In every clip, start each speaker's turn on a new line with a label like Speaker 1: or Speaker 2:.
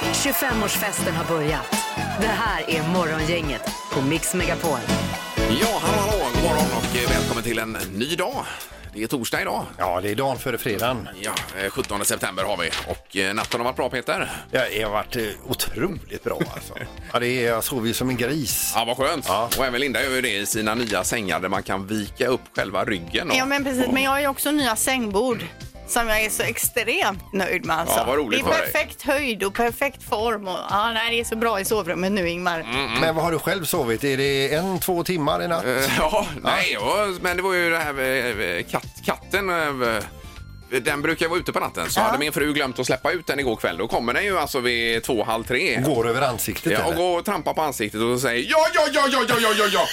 Speaker 1: 25-årsfesten har börjat. Det här är Morgongänget på Mix Megapol.
Speaker 2: Ja, hallå, hallå, god morgon och eh, välkommen till en ny dag. Det är torsdag idag.
Speaker 3: Ja, det är dagen före fredagen.
Speaker 2: Ja, eh, 17 september har vi och eh, natten har varit bra Peter.
Speaker 3: Jag har varit eh, otroligt bra alltså. ja, det är, jag sov ju som en gris.
Speaker 2: Ja, vad skönt.
Speaker 3: Ja.
Speaker 2: Och även Linda gör ju det i sina nya sängar där man kan vika upp själva ryggen. Och...
Speaker 4: Ja men precis, men jag har ju också nya sängbord. Som jag är så extremt nöjd med alltså.
Speaker 2: Ja, vad roligt
Speaker 4: det är
Speaker 2: för dig.
Speaker 4: perfekt höjd och perfekt form. Och, ja, nej, det är så bra i sovrummet nu Ingmar.
Speaker 2: Mm,
Speaker 3: Men vad har du själv sovit? Är det en, två timmar i natt?
Speaker 2: Eh, Ja, nej, ja, men det var ju det här med eh, katt, katten. eh, Den brukar vara ute på natten så hade min fru glömt att släppa ut den igår kväll. Då kommer den ju alltså vid två, halv tre.
Speaker 3: Går över ansiktet
Speaker 2: Ja, och
Speaker 3: eller?
Speaker 2: går och trampar på ansiktet och säger ja, ja, ja, ja, ja, ja, ja, ja.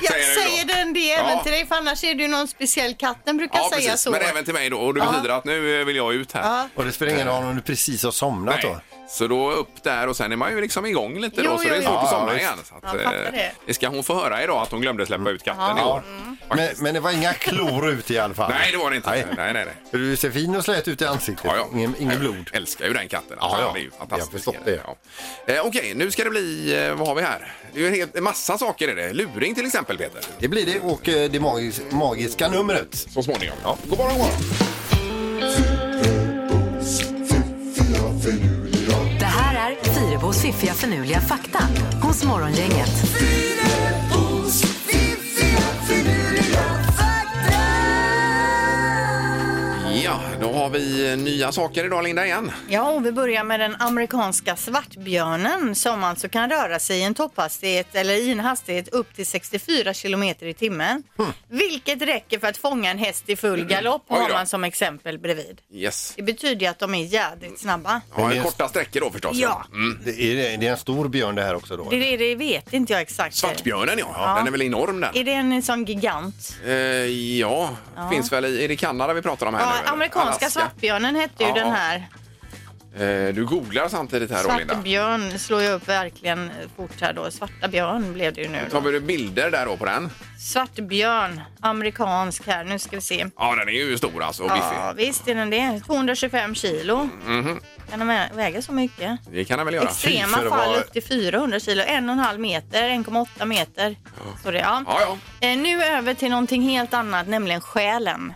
Speaker 4: Jag
Speaker 2: den
Speaker 4: säger,
Speaker 2: då.
Speaker 4: den det
Speaker 2: Ja.
Speaker 4: även till dig för annars är det ju någon speciell katt. Den brukar
Speaker 2: Ja,
Speaker 4: säga
Speaker 2: precis.
Speaker 4: så.
Speaker 2: Men även till mig då. Och det betyder att nu eh, vill jag ut här.
Speaker 4: Ja.
Speaker 3: Och det spelar ingen roll om du precis har somnat
Speaker 2: Eh. Nej.
Speaker 3: då?
Speaker 2: Så då upp där och sen är man ju liksom igång lite då
Speaker 4: Jo,
Speaker 2: så
Speaker 4: jo,
Speaker 2: det är
Speaker 4: jo.
Speaker 2: svårt att
Speaker 3: Ja,
Speaker 2: somna
Speaker 3: visst.
Speaker 2: igen. Så att,
Speaker 4: Jag fattar
Speaker 2: eh,
Speaker 4: det. Mm.
Speaker 2: det ska hon få höra idag att hon glömde släppa ut katten igår.
Speaker 3: Men, men det var inga klor ute i alla fall?
Speaker 2: Mm. Nej, det var det inte. Nej,
Speaker 3: Nej.
Speaker 2: nej, nej.
Speaker 3: För Du ser fin och slät ut i ansiktet.
Speaker 2: Ja, ja.
Speaker 3: Ingen, ingen blod.
Speaker 2: Jag älskar ju den katten.
Speaker 3: Ja, ja.
Speaker 2: Det är ju fantastiskt.
Speaker 3: Jag förstår det.
Speaker 2: Ja. Eh, Okej, nu ska det bli, eh, vad har vi här? Det är ju en hel- en massa saker är det. Luring till exempel Peter.
Speaker 3: Det blir det och eh, det magis magiska numret.
Speaker 2: Så småningom. Ja. God morgon, god morgon.
Speaker 1: Det här är Fyrabos fiffiga förnuliga fakta hos Morgongänget.
Speaker 2: Ja, då har vi eh, nya saker idag Linda igen.
Speaker 4: Ja, och vi börjar med den amerikanska svartbjörnen som alltså kan röra sig i en topphastighet eller i en hastighet upp till 64 kilometer i timmen. Vilket räcker för att fånga en häst i full galopp
Speaker 2: Hm. Mm. Oj då.
Speaker 4: har man som exempel bredvid.
Speaker 2: Yes.
Speaker 4: Det betyder ju att de är jädrigt snabba.
Speaker 2: Ja,
Speaker 3: Men-
Speaker 2: korta sträckor då förstås.
Speaker 4: Ja,
Speaker 2: Mm.
Speaker 3: Det är, det är en stor björn det här också då?
Speaker 4: det, det, det vet inte jag exakt.
Speaker 2: Svartbjörnen ja. den är väl enorm den.
Speaker 4: Är det en sån gigant?
Speaker 2: Eh, ja, finns väl i, är det Kanada vi pratar om här
Speaker 4: Ja,
Speaker 2: nu? eller?
Speaker 4: amerikanska
Speaker 2: Alaska.
Speaker 4: svartbjörnen hette ju
Speaker 2: Ja.
Speaker 4: den här.
Speaker 2: Eh, du googlar samtidigt här då Linda.
Speaker 4: Svartbjörn slår jag upp verkligen fort här då. Svarta björn blev det ju nu. Då.
Speaker 2: Tar vi bilder där då på den?
Speaker 4: Svartbjörn, amerikansk här. Nu ska vi se.
Speaker 2: Ja, den är ju stor alltså och biffig.
Speaker 4: Ja, visst är den det. 225 kilo. Kan den vä- väga så mycket?
Speaker 2: Det kan den väl göra?
Speaker 4: Extrema
Speaker 3: för det
Speaker 4: fall
Speaker 3: var-
Speaker 4: upp till 400 kilo. 1,5 meter, 1,8 meter. Så det, ja.
Speaker 2: Ja, ja.
Speaker 4: Eh, Nu över till någonting helt annat, nämligen själen.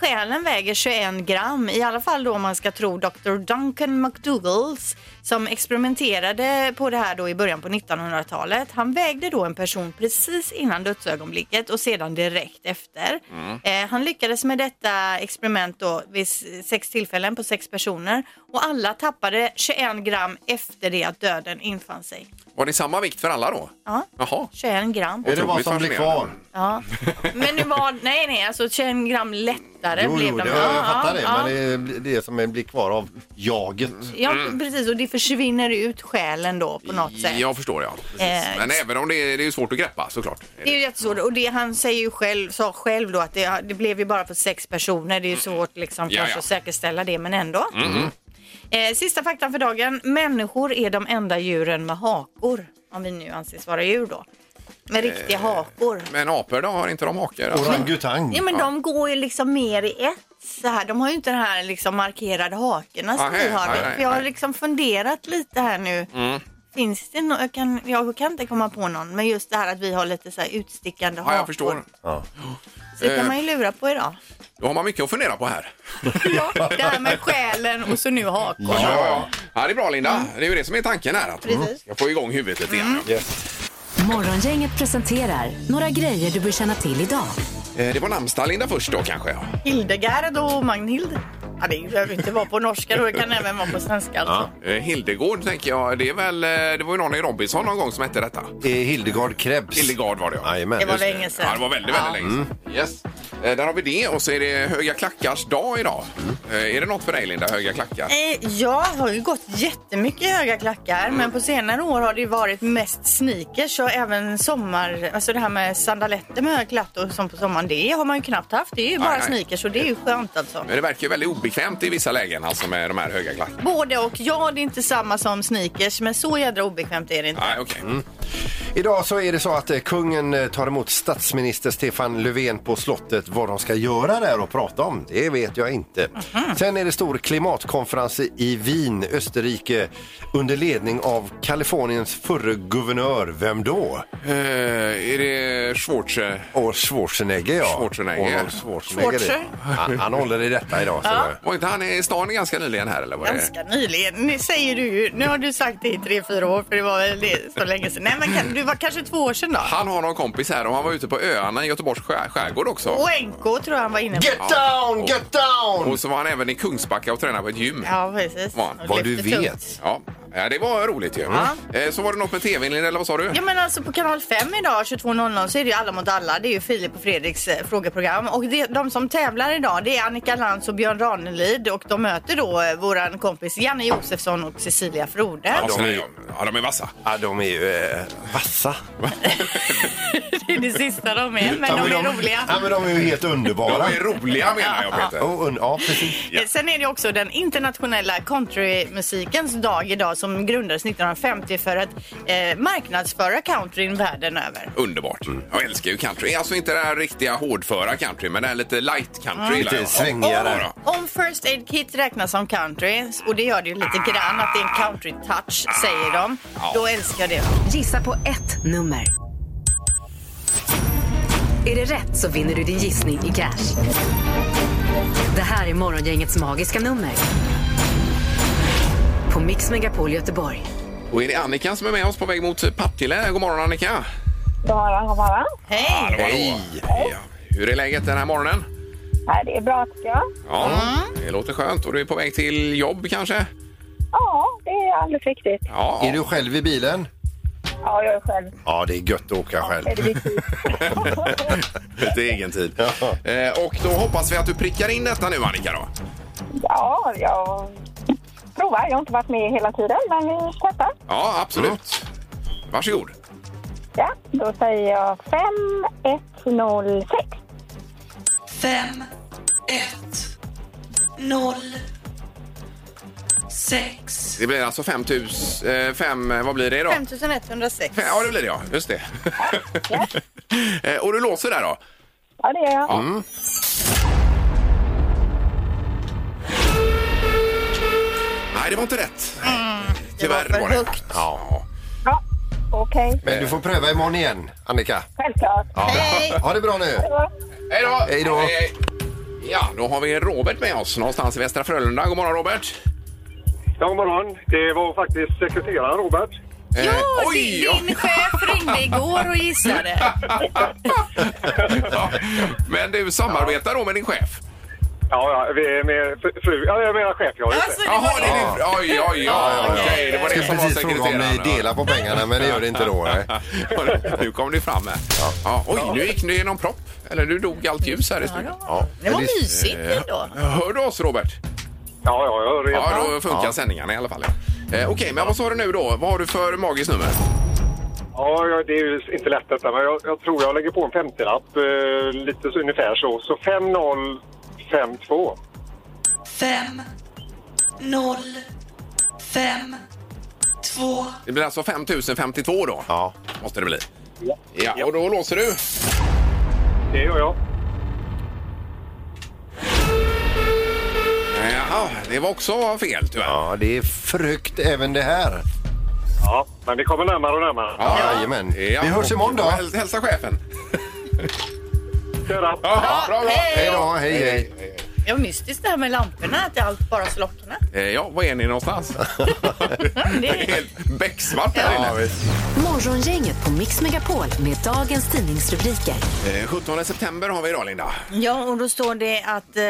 Speaker 4: Själen väger 21 gram, i alla fall då om man ska tro Dr. Duncan McDougals som experimenterade på det här då i början på 1900-talet. Han vägde då en person precis innan dödsögonblicket och sedan direkt efter.
Speaker 3: Mm.
Speaker 4: Eh, han lyckades med detta experiment då vid s- sex tillfällen på sex personer och alla tappade 21 gram efter det att döden infann sig.
Speaker 2: Var det samma vikt för alla då?
Speaker 4: Ja,
Speaker 2: Jaha.
Speaker 4: 21 gram.
Speaker 3: Är det vad som blir kvar?
Speaker 4: Ja. Men nu var, nej nej, alltså 21 gram lättare
Speaker 3: Jo,
Speaker 4: blev
Speaker 3: jo,
Speaker 4: de.
Speaker 3: det, jag fattar det. Men det är det som blir kvar av jaget.
Speaker 4: Ja, precis. Och det försvinner ut själen då på något sätt.
Speaker 2: Jag förstår, ja. Precis.
Speaker 4: Eh,
Speaker 2: Men även om det är, det är ju svårt att greppa såklart.
Speaker 4: Det är ju jättesvårt. Och det han säger ju själv, sa själv då att det, det blev ju bara för sex personer.
Speaker 3: Mm.
Speaker 4: Det är ju svårt liksom
Speaker 2: Ja,
Speaker 4: kanske
Speaker 2: ja.
Speaker 4: att säkerställa det, men ändå.
Speaker 3: Mm-hmm.
Speaker 4: Eh, sista faktan för dagen. Människor är de enda djuren med hakor. Om vi nu anses vara djur då. Med riktiga
Speaker 3: Eh.
Speaker 4: hakor.
Speaker 2: Men apor då, har inte de hakor? Alltså.
Speaker 3: Orangutang.
Speaker 4: Ja, men de går ju liksom mer i ett. Så här. De har ju inte den här liksom markerade hakorna som
Speaker 2: Nej,
Speaker 4: vi har.
Speaker 2: nej, nej,
Speaker 4: jag har
Speaker 2: nej. Mm.
Speaker 4: liksom funderat lite här nu. Finns det no- jag, kan, jag kan inte komma på någon, men just det här att vi har lite så här utstickande
Speaker 2: Ja,
Speaker 4: hakor.
Speaker 2: jag förstår. Eh.
Speaker 3: Ja.
Speaker 4: Så det kan man ju lura på idag.
Speaker 2: Då har man mycket att fundera på här.
Speaker 4: ja, det här med själen och så nu hakor.
Speaker 2: Ja, ja, ja. ja det är bra Linda. Det är ju det som är tanken här. Att
Speaker 4: Precis. Mm.
Speaker 2: jag får igång huvudet lite grann.
Speaker 3: Yes.
Speaker 1: Morgongänget presenterar några grejer du bör känna till idag.
Speaker 2: Eh, Det var namnsdag Linda först då kanske. ja.
Speaker 4: Hildegard och Magnhild. Ja, det behöver inte vara på norska då, det kan även vara på svenska. Alltså.
Speaker 2: Eh, Hildegård tänker jag. Det, är väl, eh, det var ju någon i Robinson någon gång som hette detta.
Speaker 3: Eh, Hildegard Krebs.
Speaker 2: Hildegard var det ja.
Speaker 3: Jajamän.
Speaker 4: Det var
Speaker 3: Just det. Mm.
Speaker 4: länge sedan.
Speaker 2: Ja, det var väldigt, väldigt länge sedan. Yes. Eh, Där har vi det och så är det höga klackars dag idag. Eh, Är det något för dig Linda, höga klackar?
Speaker 4: Eh, Jag har ju gått jättemycket höga klackar men på senare år har det ju varit mest sneakers och även sommar, alltså det här med sandaletter med hög klack och sånt på sommaren det har man ju knappt haft. Det är ju bara
Speaker 2: nej.
Speaker 4: sneakers och det är ju skönt alltså.
Speaker 2: Men det verkar ju väldigt obekvämt i vissa lägen alltså med de här höga klackarna.
Speaker 3: Mm.
Speaker 4: Både och. Ja, det är inte samma som sneakers men så jädra obekvämt är det inte.
Speaker 2: Nej, okej.
Speaker 3: Idag så är det så att eh, kungen eh, tar emot statsminister Stefan Löfven på slottet. Vad de ska göra där och prata om, det vet jag inte.
Speaker 2: Mhm.
Speaker 3: Sen är det stor klimatkonferens i Wien, Österrike under ledning av Kaliforniens förre guvernör. Vem då?
Speaker 2: Eh, är det eh, Schwarze?
Speaker 3: Och Schwarzenegger, ja.
Speaker 2: Schwarzenegger.
Speaker 3: Arnold Schwarzenegger.
Speaker 4: Schwarzer.
Speaker 3: Han, han håller i detta idag. Så det-
Speaker 2: Var inte han i stan ganska nyligen här eller? Var det?
Speaker 4: Ganska nyligen. Nu säger du ju, nu har du sagt det i tre, fyra år för det var väl det så länge sedan. Nej men kan, du var kanske två år sedan då?
Speaker 2: Han har någon kompis här och han var ute på öarna i Göteborgs skär, skärgård också.
Speaker 4: Och NK tror jag han var inne på.
Speaker 3: Get down, get down!
Speaker 2: Och så var han även i Kungsbacka och tränade på ett gym.
Speaker 4: Ja precis.
Speaker 2: Vad-
Speaker 4: Och
Speaker 3: Vad du
Speaker 4: lyfte tungt.
Speaker 3: vet.
Speaker 2: Ja, ja, det var roligt ju. Eh, Så var det något med tvn, Linda, eller vad sa du?
Speaker 4: Ja men alltså på kanal 5 idag 22.00 så är det ju Alla mot alla. Det är ju Filip och Fredriks eh, frågeprogram. Och det, de som tävlar idag det är Annika Lantz och Björn Ranelid och de möter då eh, våran kompis Janne Josefsson och Cecilia Frode.
Speaker 2: Ja, de är, ja, de är vassa.
Speaker 3: Ja, de är ju eh, vassa.
Speaker 4: Det är det sista de är, men
Speaker 3: Ja,
Speaker 4: de är roliga.
Speaker 3: Ja, men de är ju helt
Speaker 2: De
Speaker 3: underbara.
Speaker 2: är roliga menar jag Peter.
Speaker 3: Ja, und- ja, precis.
Speaker 4: Eh, Sen är det också den internationella countrymusikens dag idag som grundades 1950 för att eh, marknadsföra countryn världen över.
Speaker 2: Underbart.
Speaker 3: Mm.
Speaker 2: Jag älskar ju country. Alltså inte det här riktiga hårdföra country, men det här lite light country.
Speaker 3: Mm.
Speaker 2: gillar
Speaker 3: Lite
Speaker 2: jag.
Speaker 3: svängigare.
Speaker 2: Ja, då.
Speaker 4: Om First Aid Kit räknas som country, och det gör det ju lite grann, att det är en country-touch, säger de, då älskar jag det.
Speaker 1: Gissa på ett nummer. Är det rätt så vinner du din gissning i cash. Det här är Morgongängets magiska nummer. På Mix Megapol Göteborg.
Speaker 2: Och är det Annika som är med oss på väg mot Partille. God morgon Annika!
Speaker 5: God morgon, god morgon.
Speaker 4: Hej!
Speaker 2: Hallå, hallå. Ja. Hur är läget den här morgonen?
Speaker 5: Nej, det är bra tycker jag.
Speaker 2: Ja, det låter skönt. Och du är på väg till jobb kanske?
Speaker 5: Ja, det är alldeles riktigt.
Speaker 2: Ja.
Speaker 3: Är du själv i bilen?
Speaker 5: Ja, jag är själv.
Speaker 3: Ja, det är gött att åka själv.
Speaker 5: Är det viktigt?
Speaker 2: Lite egen tid.
Speaker 3: Ja.
Speaker 2: Eh, och då hoppas vi att du prickar in detta nu Annika då.
Speaker 5: ja, jag provar. Jag har inte varit med hela tiden, men vi testar.
Speaker 2: Ja, absolut. Varsågod.
Speaker 5: Ja, då säger jag 5106.
Speaker 6: 5, 1, 0, 6,
Speaker 2: Det blir alltså 5 000... Eh, fem, eh, vad blir det då?
Speaker 4: 5106.
Speaker 2: Fem- Ja, det blir det ja. Just det. Eh, och du låser där då?
Speaker 5: Ja, det gör jag.
Speaker 2: Nej, det var inte rätt. Eh, Tyvärr
Speaker 4: Mm, det
Speaker 2: var
Speaker 4: var för
Speaker 2: det.
Speaker 4: högt.
Speaker 2: Ja.
Speaker 5: Ja, okej.
Speaker 3: Men du får pröva imorgon igen, Annika.
Speaker 5: Självklart.
Speaker 4: Hej!
Speaker 3: Ha det bra nu!
Speaker 2: Hej då!
Speaker 3: Hej då.
Speaker 2: Ja, då har vi Robert med oss någonstans i Västra Frölunda. God morgon Robert!
Speaker 7: Ja, God morgon. Det var faktiskt sekreteraren Robert.
Speaker 2: Eh,
Speaker 4: Jo,
Speaker 2: oj,
Speaker 4: din, din
Speaker 2: ja.
Speaker 4: chef ringde igår och gissade.
Speaker 2: Ja. Men du samarbetar då med din chef?
Speaker 7: Ja, ja, vi är med fru- fru... Ja, jag menar chef, ja. just
Speaker 4: Alltså,
Speaker 7: det.
Speaker 4: det
Speaker 2: Jaha,
Speaker 4: var
Speaker 2: det
Speaker 4: det.
Speaker 2: är din... Oj, oj, oj. Okej, det var
Speaker 3: Jag
Speaker 2: det som
Speaker 3: skulle
Speaker 2: var
Speaker 3: precis fråga om
Speaker 2: sekreteraren.
Speaker 3: ni delar på pengarna, men det gör det inte då. nej.
Speaker 2: Ja. Nu kom det fram här. Ja. Oj, nu gick du genom propp. Eller nu dog allt ljus här i studion. Eh,
Speaker 4: Det var mysigt
Speaker 3: Eh,
Speaker 4: ändå.
Speaker 2: Hör du oss Robert?
Speaker 7: Ja, ja, jag hör
Speaker 2: Ja,
Speaker 7: er.
Speaker 2: då funkar sändningarna i alla fall. Ja. Eh, Okej, men vad sa du nu då? Vad har du för magiskt nummer?
Speaker 7: Ja, ja, det är ju inte lätt detta, men jag, jag tror jag lägger på en 50-lapp. Eh, lite så, ungefär så. Så 5052.
Speaker 6: 5, 0, 5, 2,
Speaker 2: Det blir alltså 5052 då?
Speaker 3: Ja.
Speaker 2: Måste det bli. Ja, och då låser du.
Speaker 7: Det gör jag.
Speaker 2: Jaha, det var också fel tyvärr.
Speaker 3: ja, det är för högt även det här.
Speaker 7: Ja, men vi kommer närmare och närmare.
Speaker 2: Ja,
Speaker 3: Jajamän. Vi hörs imorgon då.
Speaker 2: Och häl- Hälsa chefen.
Speaker 7: Kör upp.
Speaker 2: Ja, bra, bra.
Speaker 3: Hej då, hej hej.
Speaker 4: Det var mystiskt det här med lamporna, att allt bara slocknade.
Speaker 2: Eh, Ja, var är ni någonstans? det är helt becksvart här
Speaker 3: Ja,
Speaker 2: inne.
Speaker 3: visst.
Speaker 1: Morgongänget på Mix Megapol med dagens tidningsrubriker.
Speaker 2: Eh, 17 september har vi idag, Linda.
Speaker 4: Ja, och då står det att eh,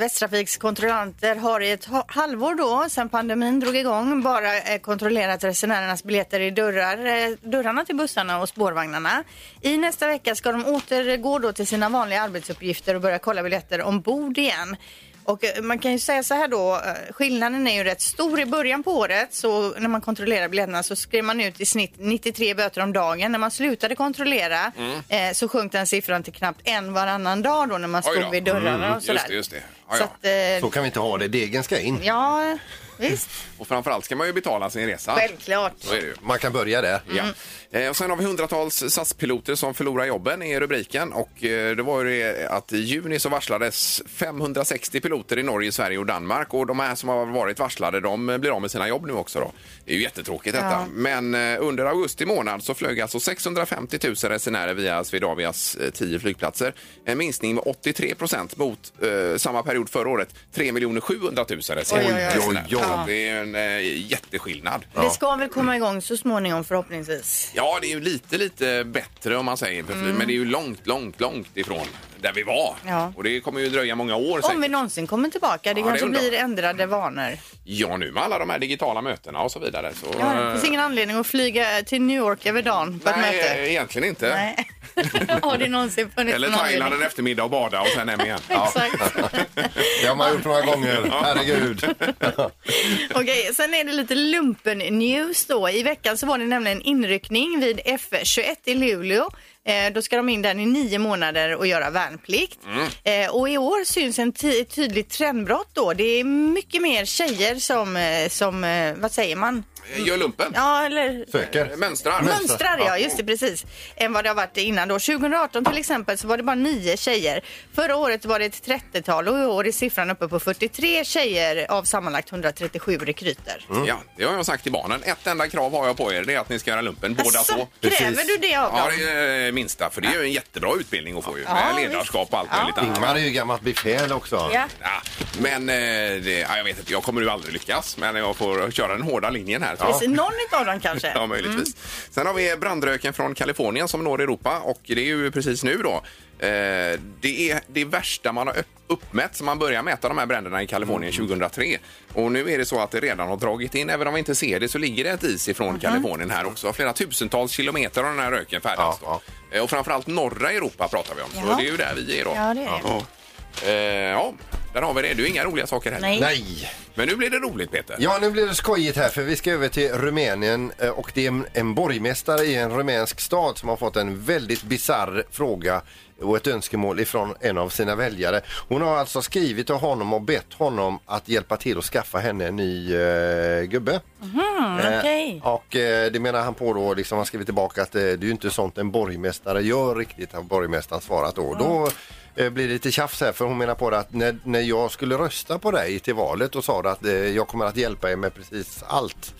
Speaker 4: Västtrafiks kontrollanter har i ett ha- halvår då, sedan pandemin drog igång, bara eh, kontrollerat resenärernas biljetter i dörrar, eh, dörrarna till bussarna och spårvagnarna. I nästa vecka ska de återgå då till sina vanliga arbetsuppgifter och börja kolla biljetter ombord igen. Och eh, man kan ju säga så här då, eh, skillnaden är ju rätt stor. I början på året så när man kontrollerar biljetterna så skrev man ut i snitt 93 böter om dagen. När man slutade kontrollera
Speaker 2: Mm.
Speaker 4: eh, så sjönk den siffran till knappt en varannan dag då när man
Speaker 2: Oj då.
Speaker 4: stod vid dörrarna
Speaker 2: Mm,
Speaker 4: och sådär.
Speaker 2: just det, just det. Ja,
Speaker 4: Så
Speaker 2: ja.
Speaker 4: att, eh,
Speaker 3: Så kan vi inte ha det. Degen ska in.
Speaker 4: ja, Visst.
Speaker 2: Och framförallt ska man ju betala sin resa.
Speaker 4: Självklart.
Speaker 2: Så är det ju.
Speaker 3: Man kan börja där.
Speaker 2: Ja.
Speaker 4: Mm.
Speaker 2: Eh, Och sen har vi hundratals SAS-piloter som förlorar jobben i rubriken. Och eh, det var ju det att i juni så varslades 560 piloter i Norge, Sverige och Danmark. Och de här som har varit varslade de blir av med sina jobb nu också. Då. Det är ju jättetråkigt detta.
Speaker 4: Ja.
Speaker 2: Men eh, under augusti månad så flög alltså 650 000 resenärer via Swedavias eh, 10 flygplatser. En minskning med 83 procent mot eh, samma period förra året. 3 700 000 resenärer.
Speaker 4: Oj, oj,
Speaker 3: oj.
Speaker 2: Så Det är en eh, jätteskillnad.
Speaker 4: Det ska väl komma igång så småningom förhoppningsvis.
Speaker 2: Ja, det är ju lite, lite bättre om man säger för flyg, men det är ju långt, långt, långt ifrån där vi var.
Speaker 4: Mm. Ja.
Speaker 2: Och det kommer ju dröja många år
Speaker 4: Om vi
Speaker 2: säkert.
Speaker 4: någonsin kommer tillbaka. Det
Speaker 2: Ja, det
Speaker 4: kanske
Speaker 2: undrar
Speaker 4: blir
Speaker 2: jag.
Speaker 4: ändrade vanor.
Speaker 2: Ja, nu med alla de här digitala mötena och så vidare. Så,
Speaker 4: Ja, det finns ingen anledning att flyga eh, till New York över dagen på ett
Speaker 2: eh, Nej,
Speaker 4: möte.
Speaker 2: egentligen inte.
Speaker 4: Nej. Har det någonsin funnits
Speaker 2: Eller
Speaker 4: någon
Speaker 2: Thailand en
Speaker 4: anledning?
Speaker 2: eftermiddag och bada och sen hem igen. Ja.
Speaker 4: Exakt.
Speaker 3: Det har man gjort några gånger. Herregud.
Speaker 4: Okej, sen är det lite lumpen-news då. I veckan så var det nämligen inryckning vid F21 i Luleå. Eh, då ska de in där i nio månader och göra värnplikt.
Speaker 2: Mm.
Speaker 4: Eh, och i år syns en ty- tydligt trendbrott då. Det är mycket mer tjejer som, eh, som eh, vad säger man?
Speaker 2: Gör lumpen.
Speaker 4: Ja, Mm. eller
Speaker 3: Söker.
Speaker 2: Mönstrar.
Speaker 4: Mönstrar ja, just det precis. Än vad det har varit innan då. 2018 till exempel så var det bara nio tjejer. Förra året var det ett 30-tal och i år är siffran uppe på 43 tjejer av sammanlagt 137 rekryter.
Speaker 2: Ja, det har jag sagt till barnen. Ett enda krav har jag på er, det är att ni ska göra lumpen båda
Speaker 4: Alltså,
Speaker 2: två.
Speaker 4: kräver du det av
Speaker 2: Ja,
Speaker 4: dem?
Speaker 2: det är det minsta, för det är ju en jättebra utbildning att få ju.
Speaker 4: Ja,
Speaker 2: Med
Speaker 4: visst.
Speaker 2: ledarskap och allt
Speaker 4: Ja.
Speaker 2: möjligt annat.
Speaker 3: Ingmar är ju gammalt befäl också.
Speaker 4: Ja.
Speaker 2: Ja, men eh, det, ja, jag vet inte, jag kommer ju aldrig lyckas. Men jag får köra den hårda linjen här.
Speaker 4: Precis, Mm. Någon utav dem kanske?
Speaker 2: Ja, möjligtvis. Sen har vi brandröken från Kalifornien som når Europa och det är ju precis nu då. Eh, det är det värsta man har upp- uppmätt så man börjar mäta de här bränderna i
Speaker 4: Mm.
Speaker 2: Kalifornien 2003. Och nu är det så att det redan har dragit in, även om vi inte ser det så ligger det ett is ifrån
Speaker 4: Mhm.
Speaker 2: Kalifornien här också. Flera tusentals kilometer av den här röken färdas
Speaker 3: Ja,
Speaker 2: då. Eh, Och framförallt norra Europa pratar vi om, så
Speaker 4: Ja.
Speaker 2: det är ju där vi är då.
Speaker 4: Ja, det är det.
Speaker 2: Ja. Eh, ja, där har vi det. Det är ju inga roliga saker heller.
Speaker 4: Nej.
Speaker 3: Nej.
Speaker 2: Men nu blir det roligt Peter.
Speaker 3: Ja, nu blir det skojigt här för vi ska över till Rumänien eh, och det är en, en borgmästare i en rumänsk stad som har fått en väldigt bizarr fråga och ett önskemål ifrån en av sina väljare. Hon har alltså skrivit till honom och bett honom att hjälpa till att skaffa henne en ny eh, gubbe. Eh,
Speaker 4: Mm, okej.
Speaker 3: Och eh, det menar han på då, liksom han skriver tillbaka att eh, det är ju inte sånt en borgmästare gör riktigt, har borgmästaren svarat
Speaker 2: Mm.
Speaker 3: då. Och Då eh, blir det lite tjafs här för hon menar på det att när, när jag skulle rösta på dig till valet och sa du att eh, jag kommer att hjälpa er med precis allt.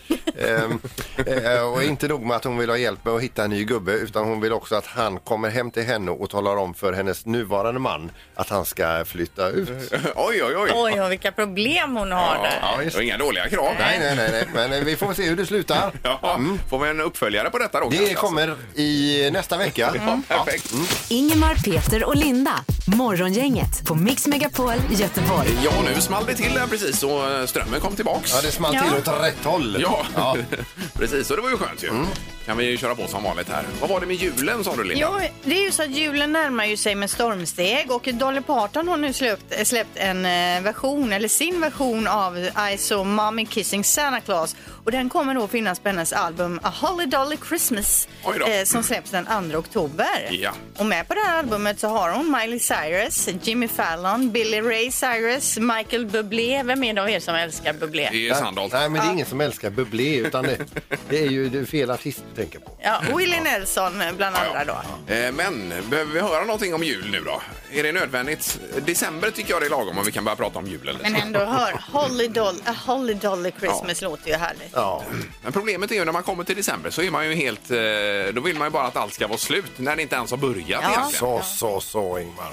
Speaker 3: Ehm, eh, och inte nog med att hon vill ha hjälp med att hitta en ny gubbe utan hon vill också att han kommer hem till henne och talar om för hennes nuvarande man att han ska flytta ut.
Speaker 2: Oj, oj, oj.
Speaker 4: Oj, och vilka problem hon har
Speaker 2: Ja,
Speaker 4: där.
Speaker 2: ja,
Speaker 3: just.
Speaker 2: det var inga dåliga krav.
Speaker 3: Nej, nej, nej, nej, men eh, vi får se hur det slutar.
Speaker 2: Ja, Får vi en uppföljare på detta då? kanske,
Speaker 3: Mm. Det kommer Mm. i nästa vecka.
Speaker 2: Alltså? Ja, perfekt.
Speaker 1: Ingemar, Peter och Linda. Morgongänget på Mix Megapol i Göteborg.
Speaker 2: Ja, nu small det till där precis och eh, strömmen kom tillbaks.
Speaker 3: Ja, det small till åt rätt håll.
Speaker 2: Ja, precis. Och det var ju skönt ju.
Speaker 3: Mm.
Speaker 2: Kan vi ju köra på som vanligt här. Vad var det med julen sa du Linda?
Speaker 4: Jo, det är ju så att julen närmar ju sig med stormsteg och Dolly Parton har nu släppt, eh, släppt en eh, version, eller sin version av I saw mommy kissing Santa Claus och den kommer då finnas på hennes album A Holly Dolly Christmas
Speaker 2: Oj då.
Speaker 4: eh, som släpps den 2 oktober.
Speaker 2: Ja.
Speaker 4: Och med på det här albumet så har hon Miley Cyrus, Jimmy Fallon, Billy Ray Cyrus, Michael Bublé. Vem är det av er som älskar Bublé?
Speaker 2: Det är Sandholt.
Speaker 3: Nej, men det är ingen som älskar bublé utan det, det är ju det är fel artist du tänker på.
Speaker 4: Ja, Willie Nelson eh, bland andra då.
Speaker 2: Eh, Men behöver vi höra någonting om jul nu då? Är det nödvändigt? December tycker jag det är lagom om vi kan börja prata om julen. Lite.
Speaker 4: Men ändå, hör, Holly Dolly, A Holly Dolly Christmas låter ju härligt.
Speaker 3: Ja,
Speaker 2: Men problemet är ju när man kommer till december så är man ju helt... eh, Då vill man ju bara att allt ska vara slut när det inte ens har börjat egentligen.
Speaker 3: så, så, så Ingmar.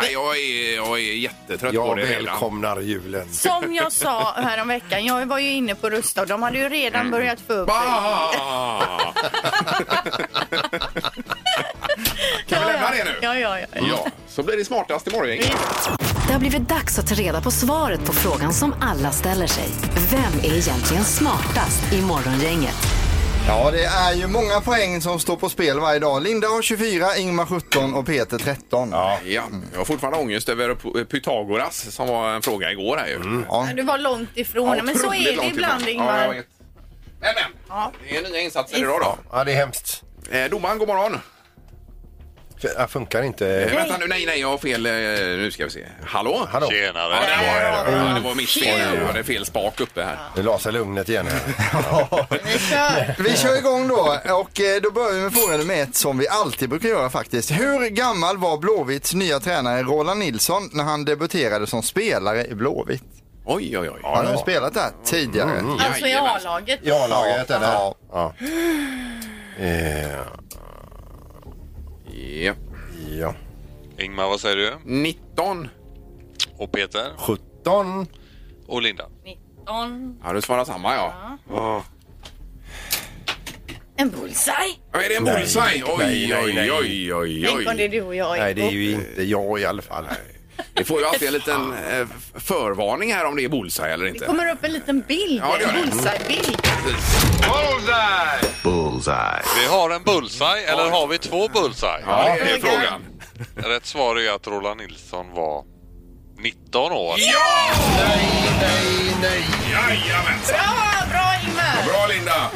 Speaker 2: Nej, jag, är, jag är jättetrött på
Speaker 3: Jag
Speaker 2: det redan.
Speaker 3: välkomnar julen.
Speaker 4: Som jag sa häromveckan, jag var ju inne på Rusta och de hade ju redan
Speaker 2: Mm.
Speaker 4: börjat få upp
Speaker 2: Bah! kan vi lämna det nu?
Speaker 4: Ja, ja, ja.
Speaker 2: Ja, så blir det smartast i morgon.
Speaker 1: Det har blivit dags att ta reda på svaret på frågan som alla ställer sig. Vem är egentligen smartast i Morgongänget?
Speaker 8: Ja, det är ju många poäng som står på spel varje dag. Linda har 24, Ingmar 17 och Peter 13. Ja.
Speaker 2: Ja, jag har fortfarande ångest över P- Pythagoras som var en fråga igår här ju.
Speaker 4: Du var långt ifrån, men så
Speaker 2: Otroligt
Speaker 4: är det
Speaker 2: långt
Speaker 4: ibland
Speaker 2: ifrån.
Speaker 4: Ingmar.
Speaker 2: Ja, jag vet. men, men.
Speaker 4: Ja.
Speaker 2: Det är nya insatser idag då.
Speaker 3: Ja, det är hemskt.
Speaker 2: Eh, domaren, god morgon.
Speaker 3: F- äh, funkar inte.
Speaker 2: Eh, Vänta nu, nej, nej, jag har fel. eh, Nu ska vi se. Hallå?
Speaker 3: Hallå?
Speaker 9: Tjenare.
Speaker 2: Ja, där var
Speaker 4: Där
Speaker 2: det. Ja, det var mitt fel. Jag hade fel spak uppe här.
Speaker 3: Nu la sig lugnet igen. här.
Speaker 4: Vi kör!
Speaker 8: Vi kör igång då och eh, då börjar vi med fråga nummer ett som vi alltid brukar göra faktiskt. Hur gammal var Blåvitts nya tränare Roland Nilsson när han debuterade som spelare i Blåvitt?
Speaker 2: Oj, oj, oj.
Speaker 8: Han har ju spelat där tidigare.
Speaker 4: Alltså i
Speaker 2: Jajamän.
Speaker 4: A-laget.
Speaker 3: I A-laget eller?
Speaker 8: Ja.
Speaker 3: Ja. Eh,
Speaker 2: Ja.
Speaker 3: ja.
Speaker 9: Ingmar, vad säger du?
Speaker 2: 19.
Speaker 9: Och Peter?
Speaker 3: 17.
Speaker 9: Och Linda?
Speaker 4: 19.
Speaker 2: Ja, du svarar samma, ja.
Speaker 4: En bullseye!
Speaker 2: Ja, Är det en
Speaker 3: Nej.
Speaker 2: bullseye? Oj,
Speaker 3: Nej, nej,
Speaker 2: oj,
Speaker 3: nej.
Speaker 2: oj, oj,
Speaker 4: Tänk om det
Speaker 2: oj.
Speaker 4: är du och jag
Speaker 3: Nej, det är
Speaker 4: Eiko.
Speaker 3: ju inte jag i alla fall.
Speaker 2: Vi får ju alltid en liten eh, f- förvarning här om det är bullseye eller
Speaker 4: Det
Speaker 2: inte.
Speaker 4: kommer upp en liten bild,
Speaker 2: Ja, det gör det. Mm.
Speaker 4: en bullseye-bild.
Speaker 9: Vi har en bullseye, eller har vi två bullseye?
Speaker 2: Ja, det är frågan.
Speaker 9: Rätt svar är att Roland Nilsson var 19 år.
Speaker 2: Ja!
Speaker 3: Nej, nej.
Speaker 2: Jajamensan!
Speaker 4: Bra, bra Ingmar!
Speaker 2: Bra, Linda!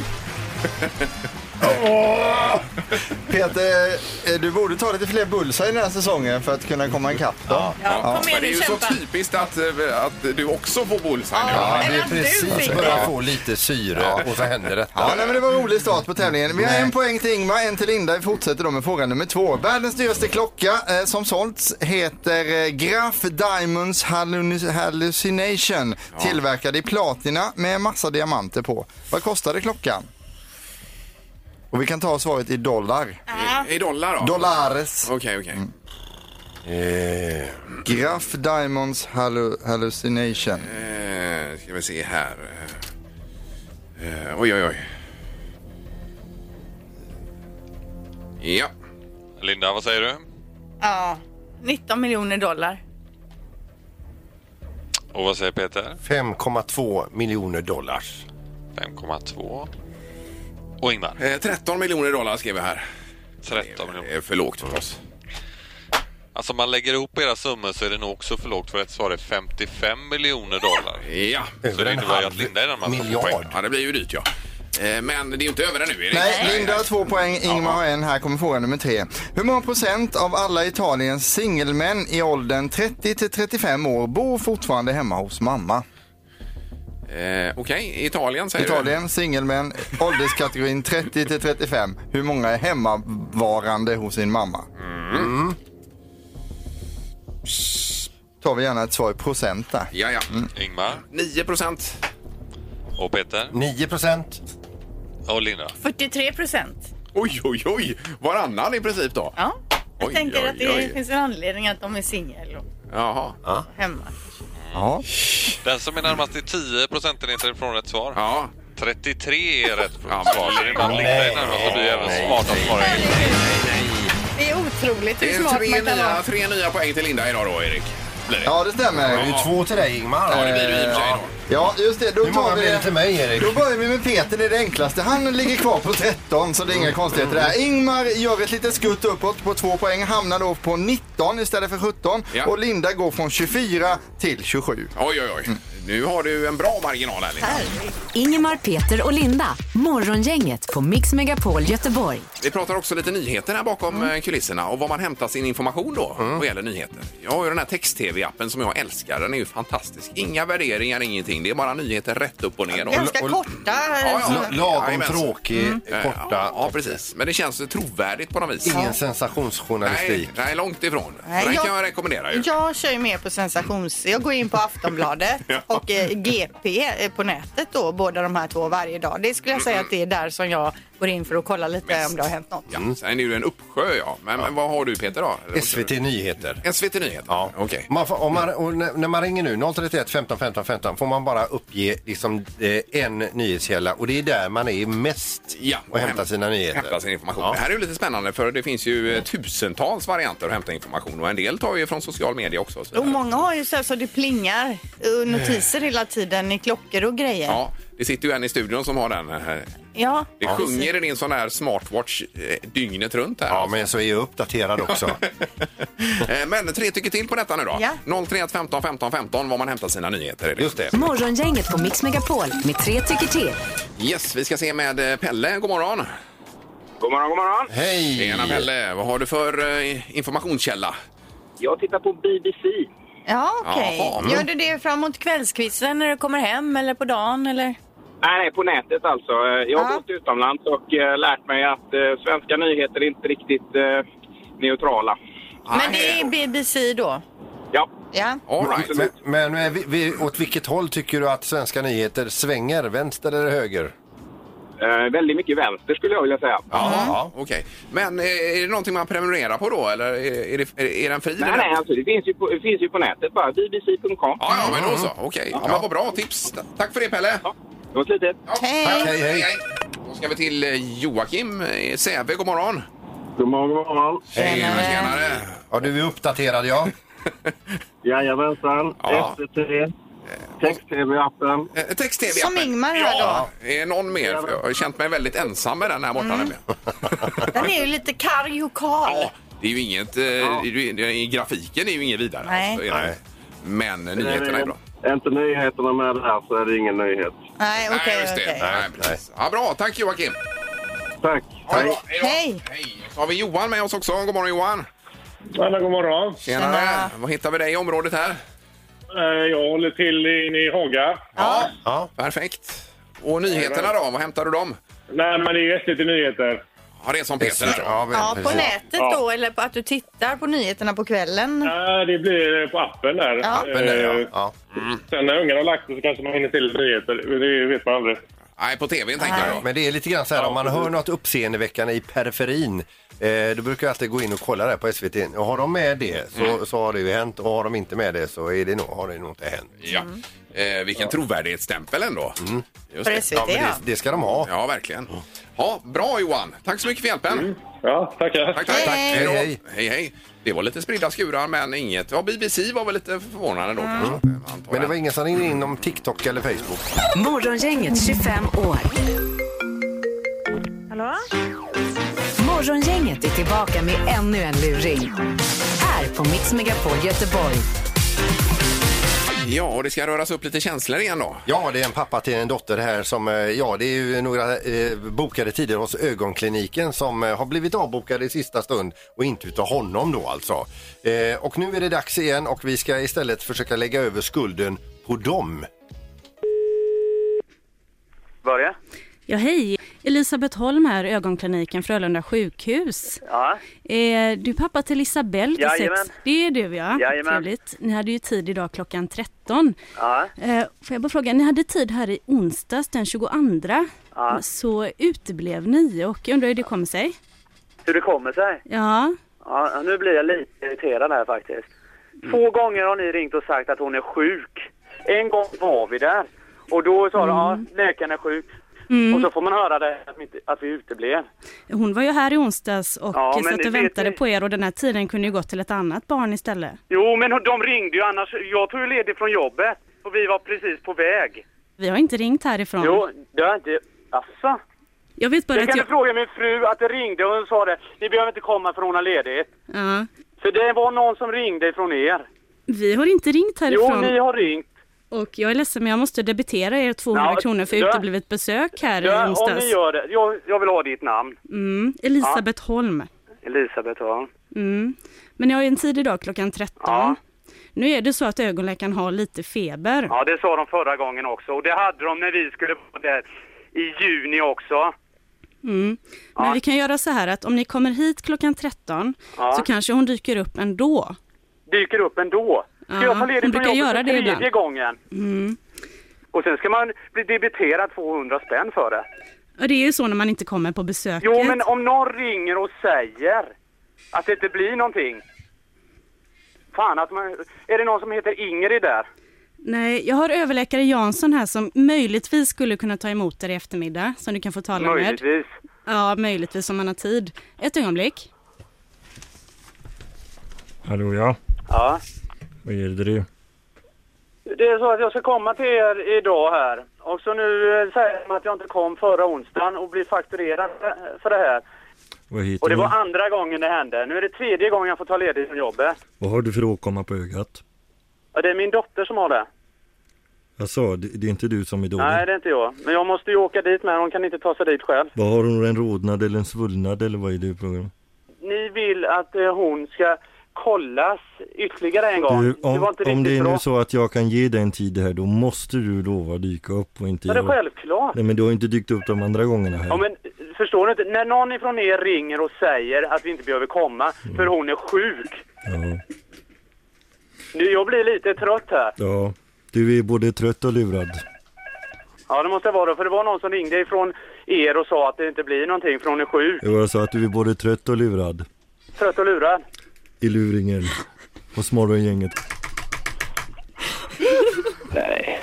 Speaker 8: Peter, eh, du borde ta lite fler bullseye den här säsongen för att kunna komma ikapp då.
Speaker 4: Ja, kom
Speaker 2: Men
Speaker 4: igen
Speaker 2: det är
Speaker 4: nu,
Speaker 2: ju så
Speaker 4: kämpa.
Speaker 2: typiskt att, eh, att du också får bullseye nu.
Speaker 4: Ja,
Speaker 3: Ja, det
Speaker 4: eller
Speaker 3: är
Speaker 4: att du
Speaker 3: precis.
Speaker 4: fick
Speaker 3: Börjar
Speaker 4: det.
Speaker 3: få lite syre och så händer detta.
Speaker 8: Ja, nej, men det var en rolig start på tävlingen. Vi har en poäng till Ingmar, en till Linda. Vi fortsätter då med fråga nummer två. Världens dyraste klocka eh, som sålts heter eh, Graf Diamonds Hallu- Hallucination. Tillverkad i platina med massa diamanter på. Vad kostade klockan? Och vi kan ta svaret i dollar.
Speaker 2: I, I dollar då?
Speaker 8: Dollares.
Speaker 2: Okej,
Speaker 3: Mm.
Speaker 2: okej.
Speaker 3: Eh,
Speaker 8: Graf Diamonds Hallu- Hallucination.
Speaker 2: Eh, ska vi se här. Eh, eh, oj, oj, oj. Ja.
Speaker 9: Linda, vad säger du?
Speaker 4: Ja, 19 miljoner dollar.
Speaker 9: Och vad säger Peter?
Speaker 3: 5,2 miljoner dollar.
Speaker 9: 5,2. Och Ingmar?
Speaker 2: Eh, 13 miljoner dollar skrev jag här.
Speaker 9: 13
Speaker 2: Det
Speaker 9: miljoner.
Speaker 2: är för lågt för oss.
Speaker 9: Alltså om man lägger ihop era summor så är det nog också för lågt för rätt svar är 55 miljoner dollar.
Speaker 2: Ja.
Speaker 9: Så det är inte bara att Linda är den man ska få poäng.
Speaker 3: miljard.
Speaker 2: ja, det blir ju dyrt ja. Eh, men det är ju inte över ännu, Erik. Eh,
Speaker 8: Nej, Linda har två poäng, Ingmar har en. Här kommer fråga nummer tre. Hur många procent av alla Italiens singelmän i åldern 30 till 35 år bor fortfarande hemma hos mamma?
Speaker 2: Eh, Okej, Italien säger
Speaker 8: Italien, singelmän, ålderskategorin 30 till 35. Hur många är hemmavarande hos sin mamma? Tar vi gärna ett svar i procent där.
Speaker 2: du. Ja, ja.
Speaker 9: Mm. Ingmar
Speaker 2: 9 procent.
Speaker 9: och Peter
Speaker 3: 9 procent.
Speaker 9: och Linda.
Speaker 4: 43 procent.
Speaker 2: Oj, oj, oj. Varannan i princip då.
Speaker 4: Ja. Jag
Speaker 2: Oj,
Speaker 4: tänker
Speaker 2: oj,
Speaker 4: att det
Speaker 2: oj.
Speaker 4: finns en anledning att de är singel och
Speaker 2: Jaha.
Speaker 4: hemma.
Speaker 8: Ja.
Speaker 9: Den som är närmast är 10 procentenheter ifrån rätt svar.
Speaker 2: Ja.
Speaker 9: 33 är rätt
Speaker 2: Ja,
Speaker 9: svar. Så det är bara Linda är närmast och du är även smartast svarare.
Speaker 4: Det är otroligt hur
Speaker 2: Det är
Speaker 4: smart
Speaker 2: tre
Speaker 4: man kan
Speaker 2: nya,
Speaker 4: vara.
Speaker 2: tre nya poäng till Linda idag då, Erik. Blir det.
Speaker 8: ja, det
Speaker 3: Det är ju
Speaker 8: stämmer.
Speaker 3: två till dig Ingmar.
Speaker 2: Ja, det blir det i och för sig
Speaker 3: Ja.
Speaker 2: då.
Speaker 8: Ja, just det. Då
Speaker 3: Hur många
Speaker 8: tar vi
Speaker 3: blir det till mig Erik?
Speaker 8: Då börjar vi med Peter, det är det enklaste. Han ligger kvar på 13 så det är inga
Speaker 3: Mm.
Speaker 8: konstigheter där. Ingmar gör ett litet skutt uppåt på 2 poäng, hamnar då på 19 istället för 17
Speaker 2: Ja.
Speaker 8: och Linda går från 24 till 27.
Speaker 2: Oj, oj, oj. Nu har du en bra marginal här, Linda.
Speaker 1: Ingemar, Peter och Linda. Morgongänget på Mix Megapol Göteborg.
Speaker 2: Vi pratar också lite nyheter här bakom eh, kulisserna och var man hämtar sin information då vad gäller nyheter. Jag har ju den här text-tv-appen som jag älskar. Den är ju fantastisk. Inga värderingar, ingenting. Det är bara nyheter rätt upp och ner. Och,
Speaker 4: Ganska
Speaker 3: Och-
Speaker 4: korta.
Speaker 2: ja, ja.
Speaker 3: L- Lagom
Speaker 2: Jajamensan.
Speaker 3: tråkig,
Speaker 2: Eh,
Speaker 3: korta.
Speaker 2: Ja, ja, precis. Men det känns trovärdigt på något vis.
Speaker 3: Ingen
Speaker 2: nej,
Speaker 3: sensationsjournalistik.
Speaker 2: nej, långt ifrån.
Speaker 4: Nej,
Speaker 2: den
Speaker 4: jag-
Speaker 2: kan jag rekommendera ju.
Speaker 4: Jag kör ju mer på sensations... Jag går in på Aftonbladet
Speaker 2: Ja.
Speaker 4: och eh, GP eh, på nätet då, båda de här två varje dag. Det skulle jag säga att det är där som jag går in för att kolla lite
Speaker 2: Mest.
Speaker 4: om det har hänt något.
Speaker 2: Ja, sen är det ju en uppsjö, ja. Men, men vad har du, Peter? Då? Eller vad säger
Speaker 3: SVT Nyheter.
Speaker 2: du? SVT Nyheter?
Speaker 3: Ja.
Speaker 2: Okej.
Speaker 3: Man får, om man, och när när man ringer nu, 031 15 15 15, får man bara uppge liksom, eh, en nyhetskälla och det är där man är mest
Speaker 2: Ja,
Speaker 3: och hämtar sina nyheter.
Speaker 2: Hämta sin information.
Speaker 3: Ja.
Speaker 2: Det här är ju lite spännande för det finns ju eh, tusentals varianter att hämta information och en del tar ju från social media också. och så
Speaker 4: Och
Speaker 2: vidare.
Speaker 4: Oh, många har ju så här så det plingar eh, notiser hela tiden i klockor och grejer.
Speaker 2: Ja, det sitter ju en i studion som har den. här.
Speaker 4: Ja,
Speaker 2: Det sjunger i din sån här smartwatch eh, dygnet runt här.
Speaker 3: Ja, men så är jag uppdaterad också.
Speaker 2: Eh, men tre tycker till på detta nu då.
Speaker 4: Ja.
Speaker 2: 031 15 15 15 var man hämtar sina nyheter. Är det.
Speaker 3: Just det.
Speaker 1: Morgongänget på Mix Megapol med tre tycker till.
Speaker 2: Yes, vi ska se med eh, Pelle. God morgon!
Speaker 7: God morgon, god morgon.
Speaker 3: Hej!
Speaker 2: Tjena Pelle, vad har du för eh, informationskälla?
Speaker 7: Jag tittar på BBC.
Speaker 4: Ja, okej.
Speaker 2: Jaha, mm.
Speaker 4: Gör du det framåt kvällskvisten när du kommer hem eller på dagen eller?
Speaker 7: Nej, nej, på nätet alltså. Eh, Jag har
Speaker 4: Ja.
Speaker 7: bott utomlands och eh, lärt mig att eh, svenska nyheter är inte riktigt eh, neutrala.
Speaker 4: Men det är BBC då?
Speaker 7: Ja,
Speaker 4: Ja.
Speaker 2: All right.
Speaker 3: Men, men eh, vi, vi, åt vilket håll tycker du att svenska nyheter svänger? Vänster eller höger?
Speaker 7: eh, väldigt mycket vänster skulle jag vilja säga.
Speaker 2: Ja, okej. Men eh, är det någonting man prenumererar på då eller är, är, det, är, är den fri?
Speaker 7: Nej,
Speaker 2: den?
Speaker 7: nej, alltså det finns ju på, det finns ju på nätet bara. BBC.com.
Speaker 2: Ja, ja, men då så. Okej. Mm. Ja, men vad bra tips. Ta- Tack för det Pelle.
Speaker 7: Ja, det var lite.
Speaker 2: Ja,
Speaker 4: Hej.
Speaker 2: tack.
Speaker 3: Hej, hej.
Speaker 2: Då ska vi till eh, Joakim i Säve. God morgon.
Speaker 7: God morgon, god morgon.
Speaker 2: Hej,
Speaker 4: Tjenare.
Speaker 2: tjenare.
Speaker 3: Ja, du är uppdaterad ja.
Speaker 7: Jajamensan.
Speaker 2: Ja.
Speaker 7: SVT. Text-tv-appen.
Speaker 2: Eh, Text-tv.
Speaker 4: Som Ingmar här
Speaker 2: ja, då. Är någon mer? För Jag har ju känt mig väldigt ensam med den här
Speaker 4: Mm.
Speaker 2: borta nämligen.
Speaker 4: Den är ju lite karg och kal.
Speaker 2: Ja, det är ju inget... eh, det är ju- det är- I grafiken är ju inget vidare. alltså,
Speaker 4: Nej.
Speaker 2: är det.
Speaker 3: Nej.
Speaker 2: Men eh, nyheterna är bra.
Speaker 7: Är inte nyheterna med här så är det ingen nyhet.
Speaker 4: Nej, okej.
Speaker 2: Nej, just det.
Speaker 4: okej.
Speaker 2: Nej, precis. Ja, bra. Tack Joakim.
Speaker 7: Tack.
Speaker 2: Ha det bra. då.
Speaker 4: Hej.
Speaker 2: Hej. Så har vi Johan med oss också. God morgon Johan.
Speaker 7: Alla, god morgon.
Speaker 2: Tjenare.
Speaker 4: Tjena.
Speaker 2: Vad hittar vi dig i området här?
Speaker 7: Eh, Jag håller till inne i Haga.
Speaker 4: Ja.
Speaker 3: ja.
Speaker 2: Perfekt. Och nyheterna då? Vad hämtar du dem?
Speaker 7: Nej, men det är SVT Nyheter.
Speaker 2: Ja, det är som Peter. där.
Speaker 3: Ja, men
Speaker 4: Ja, på
Speaker 3: precis.
Speaker 4: nätet då eller på att du tittar på nyheterna på kvällen.
Speaker 7: Nej, det blir på appen där.
Speaker 4: Ja.
Speaker 3: Men, eh, ja,
Speaker 7: Eh,
Speaker 3: ja.
Speaker 7: Sen när ungarna har lagt sig så kanske man hinner till nyheter. Det vet man aldrig.
Speaker 2: Nej, på tvn tänker
Speaker 4: Nej.
Speaker 2: jag då.
Speaker 3: Men det är lite grann så här, om man hör något uppseendeväckande i periferin, eh, då brukar jag alltid gå in och kolla där på SVT. Och har de med det så, så har det ju hänt och har de inte med det så är det nog, har det nog inte hänt.
Speaker 2: Ja.
Speaker 4: Mm.
Speaker 2: Eh, vilken trovärdighetsstämpel ändå.
Speaker 3: Mm.
Speaker 2: Just
Speaker 4: För
Speaker 2: det.
Speaker 4: SVT,
Speaker 3: men
Speaker 4: ja.
Speaker 3: det, det ska de ha.
Speaker 2: Ja, verkligen. Ja, bra Johan. Tack så mycket för hjälpen.
Speaker 7: Ja, tackar.
Speaker 2: Tack, tack, tack.
Speaker 4: Hej,
Speaker 2: Hej, då.
Speaker 3: Mm. hej.
Speaker 2: hej, hej. Det var lite spridda skurar, men inget. Ja, BBC var väl lite förvånande då
Speaker 4: Mm.
Speaker 2: kanske. antar
Speaker 3: Men det
Speaker 2: jag.
Speaker 3: var ingen som ringde in om TikTok eller Facebook.
Speaker 1: Morgongänget 25 år.
Speaker 5: Hallå?
Speaker 1: Morgongänget är tillbaka med ännu en luring. Här på Mix Megapol Göteborg.
Speaker 2: Ja, och det ska röras upp lite känslor igen då.
Speaker 3: Ja, det är en pappa till en dotter här som, eh, ja det är ju några eh, bokade tider hos ögonkliniken som eh, har blivit avbokade i sista stund och inte utav honom då alltså. Eh, och nu är det dags igen och vi ska istället försöka lägga över skulden på dem.
Speaker 7: Börja.
Speaker 10: Ja, hej. Elisabeth Holm här, ögonkliniken Frölunda sjukhus.
Speaker 7: Ja.
Speaker 10: Eh, du är pappa till Isabelle till sex.
Speaker 7: Jajamän.
Speaker 10: Det är du ja.
Speaker 7: Jajamän.
Speaker 10: Trevligt. Ni hade ju tid idag klockan 13.
Speaker 7: Ja.
Speaker 10: Eh, får jag bara fråga, ni hade tid här i onsdags den 22.
Speaker 7: Ja.
Speaker 10: Så uteblev ni och jag undrar hur det kommer sig?
Speaker 7: Hur det kommer sig?
Speaker 10: Ja,
Speaker 7: Ja, nu blir jag lite irriterad här faktiskt. Två gånger har ni ringt och sagt att hon är sjuk. En gång var vi där och då sa de att ja, läkaren är sjuk. Och så får man höra det att, vi inte, att vi uteblev.
Speaker 10: hon var ju här i onsdags och
Speaker 7: Ja, men
Speaker 10: satt
Speaker 7: det
Speaker 10: och
Speaker 7: vet
Speaker 10: väntade
Speaker 7: ni.
Speaker 10: på er och den här tiden kunde ju gått till ett annat barn istället.
Speaker 7: Jo, men de ringde ju annars. Jag tog ju ledigt från jobbet och vi var precis på väg.
Speaker 10: Vi har inte ringt härifrån.
Speaker 7: Jo, det har inte... Asså?
Speaker 10: Jag vet bara
Speaker 7: Jag
Speaker 10: att
Speaker 7: kan
Speaker 10: jag...
Speaker 7: du fråga min fru att det ringde och hon sa det. Ni behöver inte komma för hon har ledigt.
Speaker 10: Ja.
Speaker 7: För det var någon som ringde från er.
Speaker 10: Vi har inte ringt
Speaker 7: Jo,
Speaker 10: härifrån.
Speaker 7: ni har ringt.
Speaker 10: Och jag är ledsen men jag måste debitera er 200
Speaker 7: Ja,
Speaker 10: kronor för
Speaker 7: ja.
Speaker 10: uteblivet besök här i
Speaker 7: Ja, om
Speaker 10: onsdags.
Speaker 7: ni gör det. Jag, jag vill ha ditt namn.
Speaker 10: Mm, Elisabeth Holm.
Speaker 7: Elisabeth, ja.
Speaker 10: Mm. Men jag har ju en tid idag klockan 13.
Speaker 7: Ja.
Speaker 10: Nu är det så att ögonläkaren har lite feber.
Speaker 7: Ja, det sa de förra gången också. Och det hade de när vi skulle vara där i juni också.
Speaker 10: Mm. Men
Speaker 7: Ja.
Speaker 10: vi kan göra så här att om ni kommer hit klockan 13
Speaker 7: Ja.
Speaker 10: så kanske hon dyker upp ändå.
Speaker 7: Dyker upp ändå. Ska
Speaker 10: Ja,
Speaker 7: jag ta ledigt
Speaker 10: hon
Speaker 7: från
Speaker 10: brukar
Speaker 7: jobbet
Speaker 10: göra
Speaker 7: för
Speaker 10: det
Speaker 7: tredje
Speaker 10: ibland.
Speaker 7: gången.
Speaker 10: Mm.
Speaker 7: Och sen ska man bli debiterad 200 spänn för det.
Speaker 10: Och det är ju så när man inte kommer på besöket.
Speaker 7: Jo, men om någon ringer och säger att det inte blir någonting. Fan att man... Är det någon som heter Ingrid där?
Speaker 10: Nej, jag har överläkare Jansson här som möjligtvis skulle kunna ta emot er i eftermiddag som du kan få tala med.
Speaker 7: Möjligtvis.
Speaker 10: Ja, möjligtvis om man har tid. Ett ögonblick.
Speaker 11: Hallå ja,
Speaker 7: Ja.
Speaker 11: vad gäller det?
Speaker 7: Det är så att jag ska komma till er idag här. Och så nu eh, säger de att jag inte kom förra onsdagen och blir fakturerad eh, för det här.
Speaker 11: Vad
Speaker 7: Och
Speaker 11: heter
Speaker 7: det
Speaker 11: du?
Speaker 7: var andra gången det hände. Nu är det tredje gången jag får ta ledigt från jobbet.
Speaker 11: Vad har du för åkomma på ögat?
Speaker 7: Och det är min dotter som har det.
Speaker 11: Jag sa, det, det är inte du som är dålig.
Speaker 7: Nej, det är inte jag. Men jag måste ju åka dit med. Hon kan inte ta sig dit själv.
Speaker 11: Vad har hon, en rodnad eller en svullnad eller vad är det i programmet?
Speaker 7: Ni vill att eh, hon ska kollas ytterligare en gång.
Speaker 11: Du,
Speaker 7: det var
Speaker 11: om,
Speaker 7: inte
Speaker 11: om det
Speaker 7: riktigt
Speaker 11: är
Speaker 7: bra.
Speaker 11: nu så att jag kan ge dig en tid här, då måste du lova att dyka upp och inte
Speaker 7: Men det är
Speaker 11: jag.
Speaker 7: självklart.
Speaker 11: Nej men du har ju inte dykt upp de andra gångerna här.
Speaker 7: Ja, men förstår du inte? När någon ifrån er ringer och säger att vi inte behöver komma för hon är sjuk.
Speaker 11: Mm. Ja.
Speaker 7: Nu, jag blir lite trött här.
Speaker 11: ja. Du är både trött och lurad.
Speaker 7: Ja, det måste jag vara. För det var någon som ringde ifrån er och sa att det inte blir någonting för hon är sjuk.
Speaker 11: Det var så att du är både trött och lurad.
Speaker 7: Trött och lurad.
Speaker 11: I luringen. Hos morgongänget.
Speaker 7: Nej.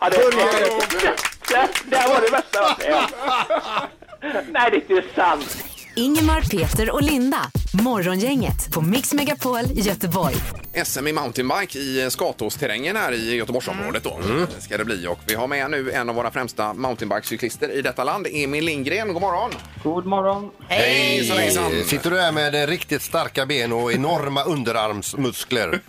Speaker 7: Ja, det, det, det här var det bästa jag har varit Nej, det är inte sant.
Speaker 1: Ingemar, Peter och Linda. Morgongänget på Mix Megapol Göteborg.
Speaker 2: SM i mountainbike i eh, Skatåsterrängen här i Göteborgsområdet då. Ska det bli och vi har med nu en av våra främsta mountainbikecyklister i detta land, Emil Lindgren. God morgon!
Speaker 12: God morgon!
Speaker 2: Hej! Hejsan,
Speaker 3: Eh, Sitter du där med eh, riktigt starka ben och enorma underarmsmuskler?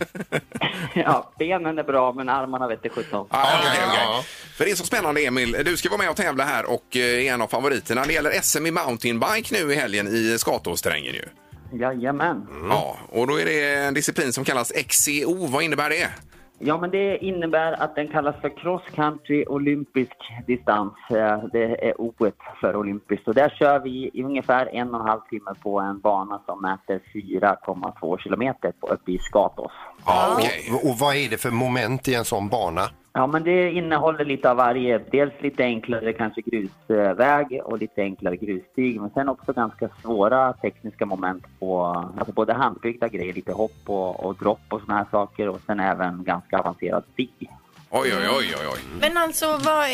Speaker 12: Ja, benen är bra men armarna vet sjutton.
Speaker 2: Ah, okej, okej. För det är så spännande Emil, du ska vara med och tävla här och eh, är en av favoriterna. Det gäller SM i mountainbike nu i helgen i eh, Skatåsterrängen ju.
Speaker 12: Jajamän.
Speaker 2: Ja, och då är det en disciplin som kallas XCO. Vad innebär det?
Speaker 12: Ja, men det innebär att den kallas för cross country olympisk distans. Eh, Det är o för olympiskt. Och där kör vi i ungefär en och en halv timme på en bana som mäter 4,2 kilometer på- uppe i Skatås.
Speaker 3: Ja, och, och vad är det för moment i en sån bana?
Speaker 12: Ja, men det innehåller lite av varje. Dels lite enklare kanske grusväg och lite enklare grusstig. Men sen också ganska svåra tekniska moment på alltså både handbyggda grejer, lite hopp och, och dropp och såna här saker. Och sen även ganska avancerad stig.
Speaker 2: Oj, oj, oj, oj, oj.
Speaker 4: Men alltså, vad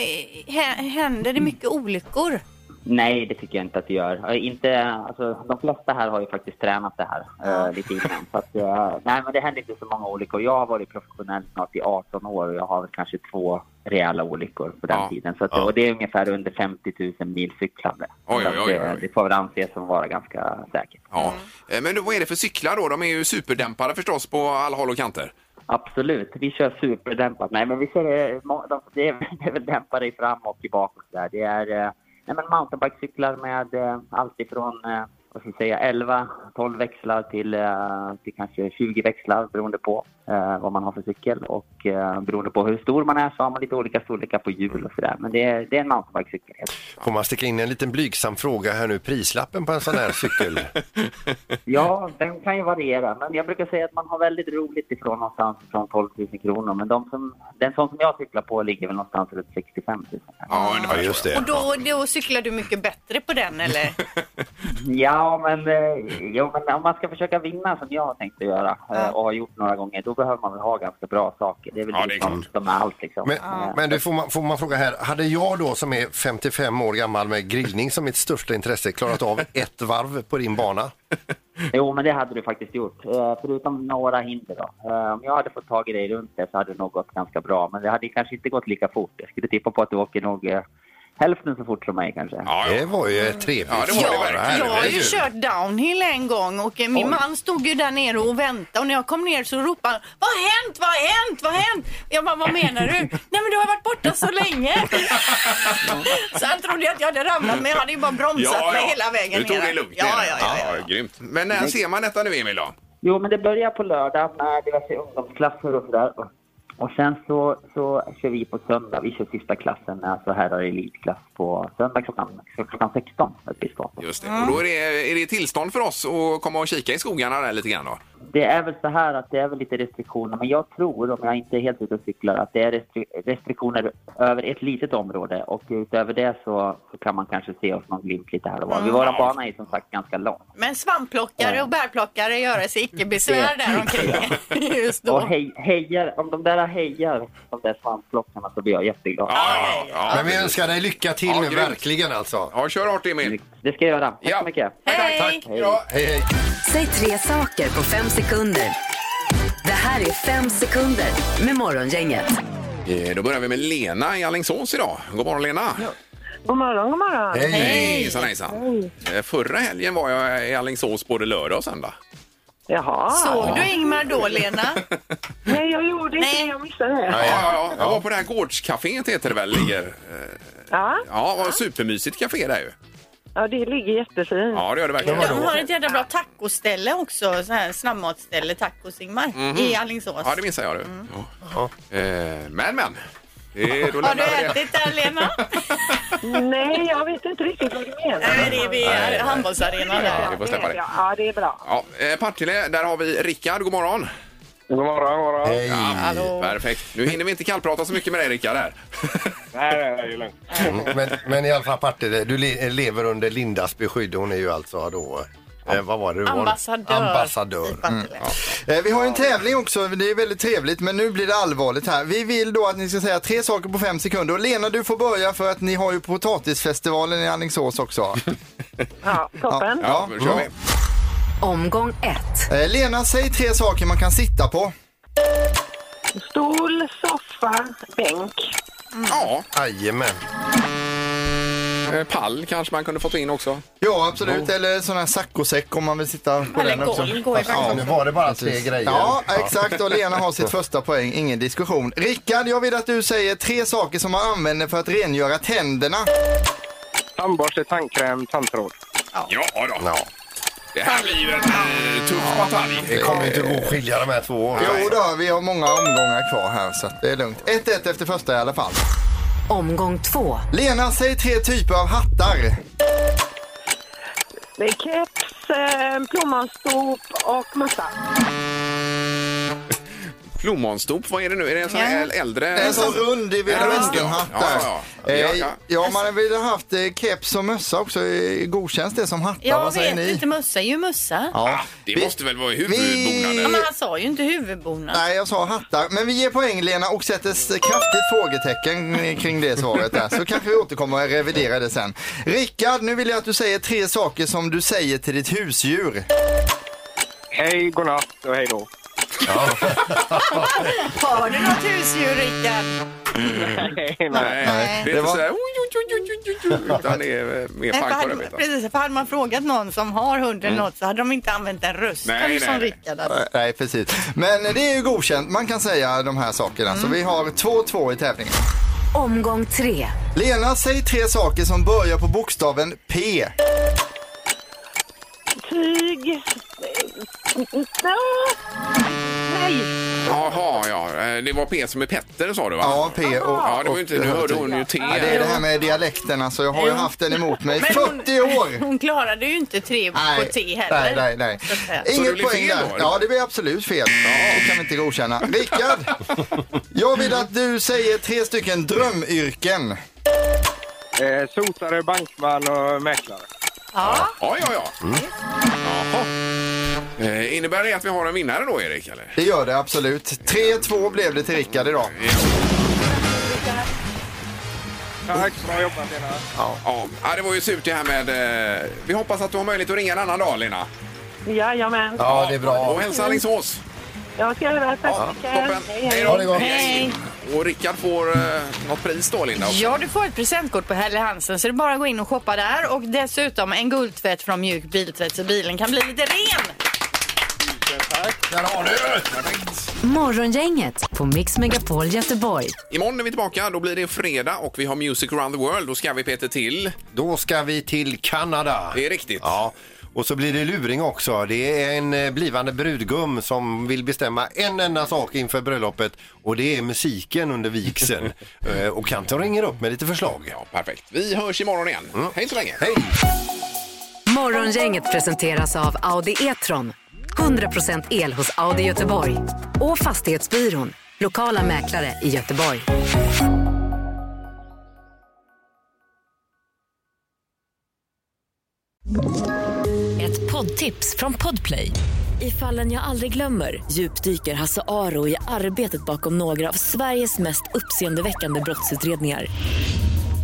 Speaker 4: hä- händer det mycket olyckor?
Speaker 12: Nej, det tycker jag inte att det gör. Eh, Inte, alltså, de flesta här har ju faktiskt tränat det här eh, lite innan. Så att, eh, nej, men det händer inte så många olyckor. Jag har varit professionell snart i 18 år och jag har väl kanske två rejäla olyckor på den tiden. Så att,
Speaker 13: Ja.
Speaker 12: Och det är ungefär under 50 000 mil cyklande.
Speaker 2: Oj,
Speaker 12: Så att,
Speaker 2: oj, oj,
Speaker 12: eh,
Speaker 2: oj.
Speaker 12: Det får väl anses som vara ganska säkert.
Speaker 2: Ja. Eh, Men då, vad är det för cyklar då? De är ju superdämpade förstås på alla håll och kanter.
Speaker 12: Absolut, vi kör superdämpat. Nej, men vi kör, eh, ma- de- det är, det är väl dämpare i fram och i bak och sådär. Det är eh, nej, men mountainbikecyklar med eh, allt ifrån eh, vad ska jag säga, 11, 12 växlar till, eh, till kanske 20 växlar beroende på eh, vad man har för cykel. Och eh, beroende på hur stor man är så har man lite olika storlekar på hjul och sådär. Men det är, det är en mountainbikecykel.
Speaker 3: Får man sticka in en liten blygsam fråga här nu, prislappen på en sån här cykel?
Speaker 12: Ja, den kan ju variera. Men jag brukar säga att man har väldigt roligt ifrån någonstans från 12 000 kronor. Men de som, den sån som jag cyklar på ligger väl någonstans runt 65 000.
Speaker 2: Ja, just
Speaker 4: Och då, då cyklar du mycket bättre på den eller?
Speaker 12: Ja, men, eh, jo, men om man ska försöka vinna som jag har tänkt att göra eh, och har gjort några gånger, då behöver man väl ha ganska bra saker. Det är väl
Speaker 3: Ja,
Speaker 12: det
Speaker 3: det är
Speaker 12: som, som är allt liksom.
Speaker 3: Men,
Speaker 12: Eh,
Speaker 3: men du, får, man, får man fråga här, hade jag då som är 55 år gammal med grillning som mitt största intresse klarat av ett varv på din bana?
Speaker 12: Jo, men det hade du faktiskt gjort. Eh, förutom några hinder då. Eh, om jag hade fått tag i dig runt det så hade det nog gått ganska bra. Men det hade kanske inte gått lika fort. Jag skulle tippa på att du åker nog eh, hälften så fort som mig kanske.
Speaker 3: Det var ju eh, trevligt.
Speaker 12: Ja, det var det verkligen.
Speaker 4: Jag har ju
Speaker 12: Herregud.
Speaker 4: kört downhill en gång och eh, min
Speaker 12: Oj.
Speaker 4: man stod ju där nere och väntade och när jag kom ner så ropade han Vad har hänt? Vad har hänt? Vad har hänt? Jag bara, vad menar du? Nej men du har varit borta så länge. så han trodde ju att jag hade ramlat men jag hade ju bara bromsat mig hela vägen
Speaker 2: Du tog
Speaker 4: ner.
Speaker 2: det lugnt.
Speaker 4: Ja,
Speaker 2: Lena.
Speaker 4: ja,
Speaker 2: ja. Grymt. Mm. Men när ser man detta nu, Emil? Då?
Speaker 12: Jo, men det börjar på lördag med diverse ungdomsklasser och sådär. Och sen så, så kör vi på söndag. Vi kör sista klassen, alltså herrar i elitklass, på söndag klockan, klockan 16 uppe i Skåne.
Speaker 2: Just det. Och då är det, är det tillstånd för oss att komma och kika i skogarna där lite grann? Då?
Speaker 12: Det är väl så här att det är väl lite restriktioner, men jag tror, om jag inte är helt ute och cyklar, att det är restri- restriktioner över ett litet område och utöver det så, så kan man kanske se oss någon glimt lite här och var.
Speaker 4: Mm.
Speaker 12: Vår bana är som sagt ganska lång.
Speaker 4: Men svampplockare och bärplockare göre sig icke besvär där omkring. Just då.
Speaker 12: Och hej, hejar, om de där hejar, de där svansplockarna, så blir jag jätteglad.
Speaker 3: Men vi önskar dig lycka till nu, verkligen alltså.
Speaker 2: Ja, kör hårt Emil.
Speaker 12: Det ska jag göra. Tack så mycket.
Speaker 2: Tack, tack. Ja, hej, hej.
Speaker 1: Säg tre saker på fem sekunder. Det här är fem sekunder med Morgongänget.
Speaker 2: Eh, Då börjar vi med Lena i Alingsås idag. God morgon Lena!
Speaker 5: God morgon, god morgon.
Speaker 2: Hejsan hejsan! Eh, Förra helgen var jag i Alingsås både lördag och söndag.
Speaker 5: Jaha.
Speaker 4: Såg du Ingmar då, Lena?
Speaker 5: Nej, jag gjorde inte det. Jag missade det.
Speaker 2: Ja, ja, ja. Jag var på det här gårdscaféet heter det väl ligger. Eh,
Speaker 5: Ja,
Speaker 2: Ja, vad supermysigt café där ju.
Speaker 5: ja det ligger jättefint.
Speaker 2: Ja, det gör det verkligen.
Speaker 4: De har ett jävla bra tacoställe också, så här snabbmatsställe, tacos Ingmar,
Speaker 2: Mhm.
Speaker 4: i Alingsås.
Speaker 2: Ja, det missar jag du. Ja. Eh, Men, men. Det, då
Speaker 4: Har du
Speaker 2: lämnar vi det.
Speaker 4: ätit där, Lena?
Speaker 5: Nej, jag vet inte riktigt vad du menar.
Speaker 4: Nej, det är vid
Speaker 2: Nej, nej.
Speaker 4: handbollsarenan
Speaker 2: Ja,
Speaker 4: där.
Speaker 2: vi får släppa det.
Speaker 5: Ja, det är bra.
Speaker 2: Ja, eh, Partille, där har vi Rickard. God morgon.
Speaker 13: God morgon, god morgon.
Speaker 2: Ja, perfekt. Nu hinner vi inte kallprata så mycket med dig Rickard här.
Speaker 13: Nej, nej, nej, det är lugnt.
Speaker 3: Men, men i alla fall Partille, du le, lever under Lindas beskydd. Hon är ju alltså då... Eh, vad var det du var?
Speaker 4: Ambassadör.
Speaker 3: Ambassadör.
Speaker 4: Mm.
Speaker 8: Eh, Vi har ju en tävling också, det är väldigt trevligt, men nu blir det allvarligt här. Vi vill då att ni ska säga tre saker på fem sekunder. Och Lena, du får börja för att ni har ju potatisfestivalen i Alingsås också.
Speaker 5: Ja, toppen.
Speaker 8: Ja,
Speaker 2: då kör vi.
Speaker 1: Omgång ett.
Speaker 8: Eh, Lena, säg tre saker man kan sitta på.
Speaker 5: Stol, soffa, bänk.
Speaker 2: Ja.
Speaker 3: Jajamän.
Speaker 2: Eh, Pall kanske man kunde fått in också.
Speaker 8: Ja, absolut. Eller sån här saccosäck om man vill sitta på
Speaker 2: Eller
Speaker 8: den också.
Speaker 2: golv går ju faktiskt också. Nu var det bara tre
Speaker 8: Precis.
Speaker 2: grejer.
Speaker 8: Ja,
Speaker 2: Ja.
Speaker 8: exakt. Och Lena har sitt första poäng. Ingen diskussion. Rickard, jag vill att du säger tre saker som man använder för att rengöra tänderna.
Speaker 13: Tandborste, tandkräm, tandtråd.
Speaker 2: Ja, då. Det här blir ju en eh, tuff batalj.
Speaker 3: Det kommer inte gå att skilja de här två åren.
Speaker 8: Jo då, vi har många omgångar kvar här så att det är lugnt. 1-1 efter första i alla fall.
Speaker 1: Omgång två.
Speaker 8: Lena, säg tre typer av hattar.
Speaker 5: Det är keps, eh, plommonstop och mössa.
Speaker 2: Plommonstop, vad är det nu? Är det en sån här
Speaker 8: Ja.
Speaker 2: äldre?
Speaker 8: En sån rund i Vera
Speaker 2: Ja.
Speaker 8: Western-hatt
Speaker 2: Ja,
Speaker 8: där.
Speaker 2: ja, ja.
Speaker 8: Eh,
Speaker 2: Ja, ja.
Speaker 8: ja, man hade väl haft eh, keps och mössa också. eh, Godkänns det som hattar?
Speaker 4: Jag
Speaker 8: Vad säger
Speaker 4: vet
Speaker 8: ni?
Speaker 4: inte, mössa är ju mössa.
Speaker 8: Ja.
Speaker 2: Det
Speaker 8: Vi-
Speaker 2: måste väl vara
Speaker 4: Ja, men
Speaker 2: huvudbonaden?
Speaker 4: han sa ju inte huvudbonad.
Speaker 8: Nej, jag sa hattar. Men vi ger poäng Lena och sätter s- kraftigt frågetecken kring det svaret där. Så kanske vi återkommer och reviderar det sen. Rickard, nu vill jag att du säger tre saker som du säger till ditt husdjur.
Speaker 13: Hej, godnatt och hej då.
Speaker 4: Har du något husdjur, Rickard?
Speaker 13: nej,
Speaker 2: Nej, det är
Speaker 13: Det
Speaker 2: inte
Speaker 13: var-
Speaker 2: sådär oj, oj, oj, oj, oj, oj, oj, utan det är eh, mer
Speaker 4: Nej, för
Speaker 2: pang på
Speaker 4: hade,
Speaker 2: rödbetan.
Speaker 4: precis, för hade man frågat någon som har hund eller något så hade de inte använt den rösten
Speaker 8: Mm. Nej, nej,
Speaker 4: som
Speaker 8: nej.
Speaker 4: Rickard hade.
Speaker 8: Eh, Nej, precis. Men det är ju godkänt. Man kan säga de här sakerna. Så vi har 2-2 i tävlingen.
Speaker 1: Omgång tre.
Speaker 8: Lena, säg tre saker som börjar på bokstaven P.
Speaker 5: Tyg. eh, Nej.
Speaker 2: Jaha, ja. Eh, Det var P som är Petter sa du va?
Speaker 8: Ja, P och...
Speaker 2: Ja, det var ju inte, nu
Speaker 8: och-
Speaker 2: hörde hon ju T.
Speaker 8: Ja, det är det här med dialekten. Alltså, jag har ju
Speaker 4: Jo.
Speaker 8: haft den emot mig.
Speaker 4: Men
Speaker 8: 40 år!
Speaker 4: Hon klarade ju inte tre på T heller.
Speaker 8: Nej, nej, nej.
Speaker 4: Så att säga.
Speaker 8: Inget poäng där. Ja, det blir absolut fel. Det kan vi inte godkänna. Rickard, jag vill att du säger tre stycken drömyrken.
Speaker 13: Eh, sotare, bankman och mäklare.
Speaker 4: Ja.
Speaker 2: Ja, ja, ja. Jaha. Eh, innebär det att vi har en vinnare då, Erik? Eller?
Speaker 8: Det gör det absolut. 3-2 blev det till Rickard idag.
Speaker 13: Tack, bra jobbat Lena.
Speaker 2: Ja. Ja. det var ju surt det här med... Eh, vi hoppas att du har möjlighet att ringa en annan dag, Lena.
Speaker 5: Jajamän.
Speaker 2: Och hälsa Alingsås.
Speaker 5: Jag ska göra det. Tack
Speaker 2: Ja,
Speaker 5: så
Speaker 2: toppen.
Speaker 5: mycket.
Speaker 2: Hej då. Hej. Och Rickard får eh, något pris då, Linda? också.
Speaker 4: Ja, du får ett presentkort på Helly Hansen så det är bara att gå in och shoppa där. Och dessutom en guldtvätt från Mjuk Biltvätt så bilen kan bli lite ren.
Speaker 2: Där har du det. Perfekt.
Speaker 1: Morgongänget på Mix Megapol Göteborg.
Speaker 2: Imorgon är vi tillbaka. Då blir det fredag och vi har Music around the world. Då ska vi, Peter, till...
Speaker 3: Då ska vi till Kanada.
Speaker 2: Det är riktigt.
Speaker 3: Ja. Och så blir det luring också. Det är en eh, blivande brudgum som vill bestämma en enda sak inför bröllopet och det är musiken under vigseln. Eh, och kanten ringer upp med lite förslag. Ja,
Speaker 2: perfekt. Vi hörs imorgon igen. Hej så länge.
Speaker 3: Hej!
Speaker 1: Morgongänget presenteras av Audi E-tron. 100% el hos Audi Göteborg. Och Fastighetsbyrån. Lokala mäklare i Göteborg.
Speaker 14: Ett poddtips från Podplay. I fallen jag aldrig glömmer djupdyker Hasse Aro i arbetet bakom några av Sveriges mest uppseendeväckande brottsutredningar.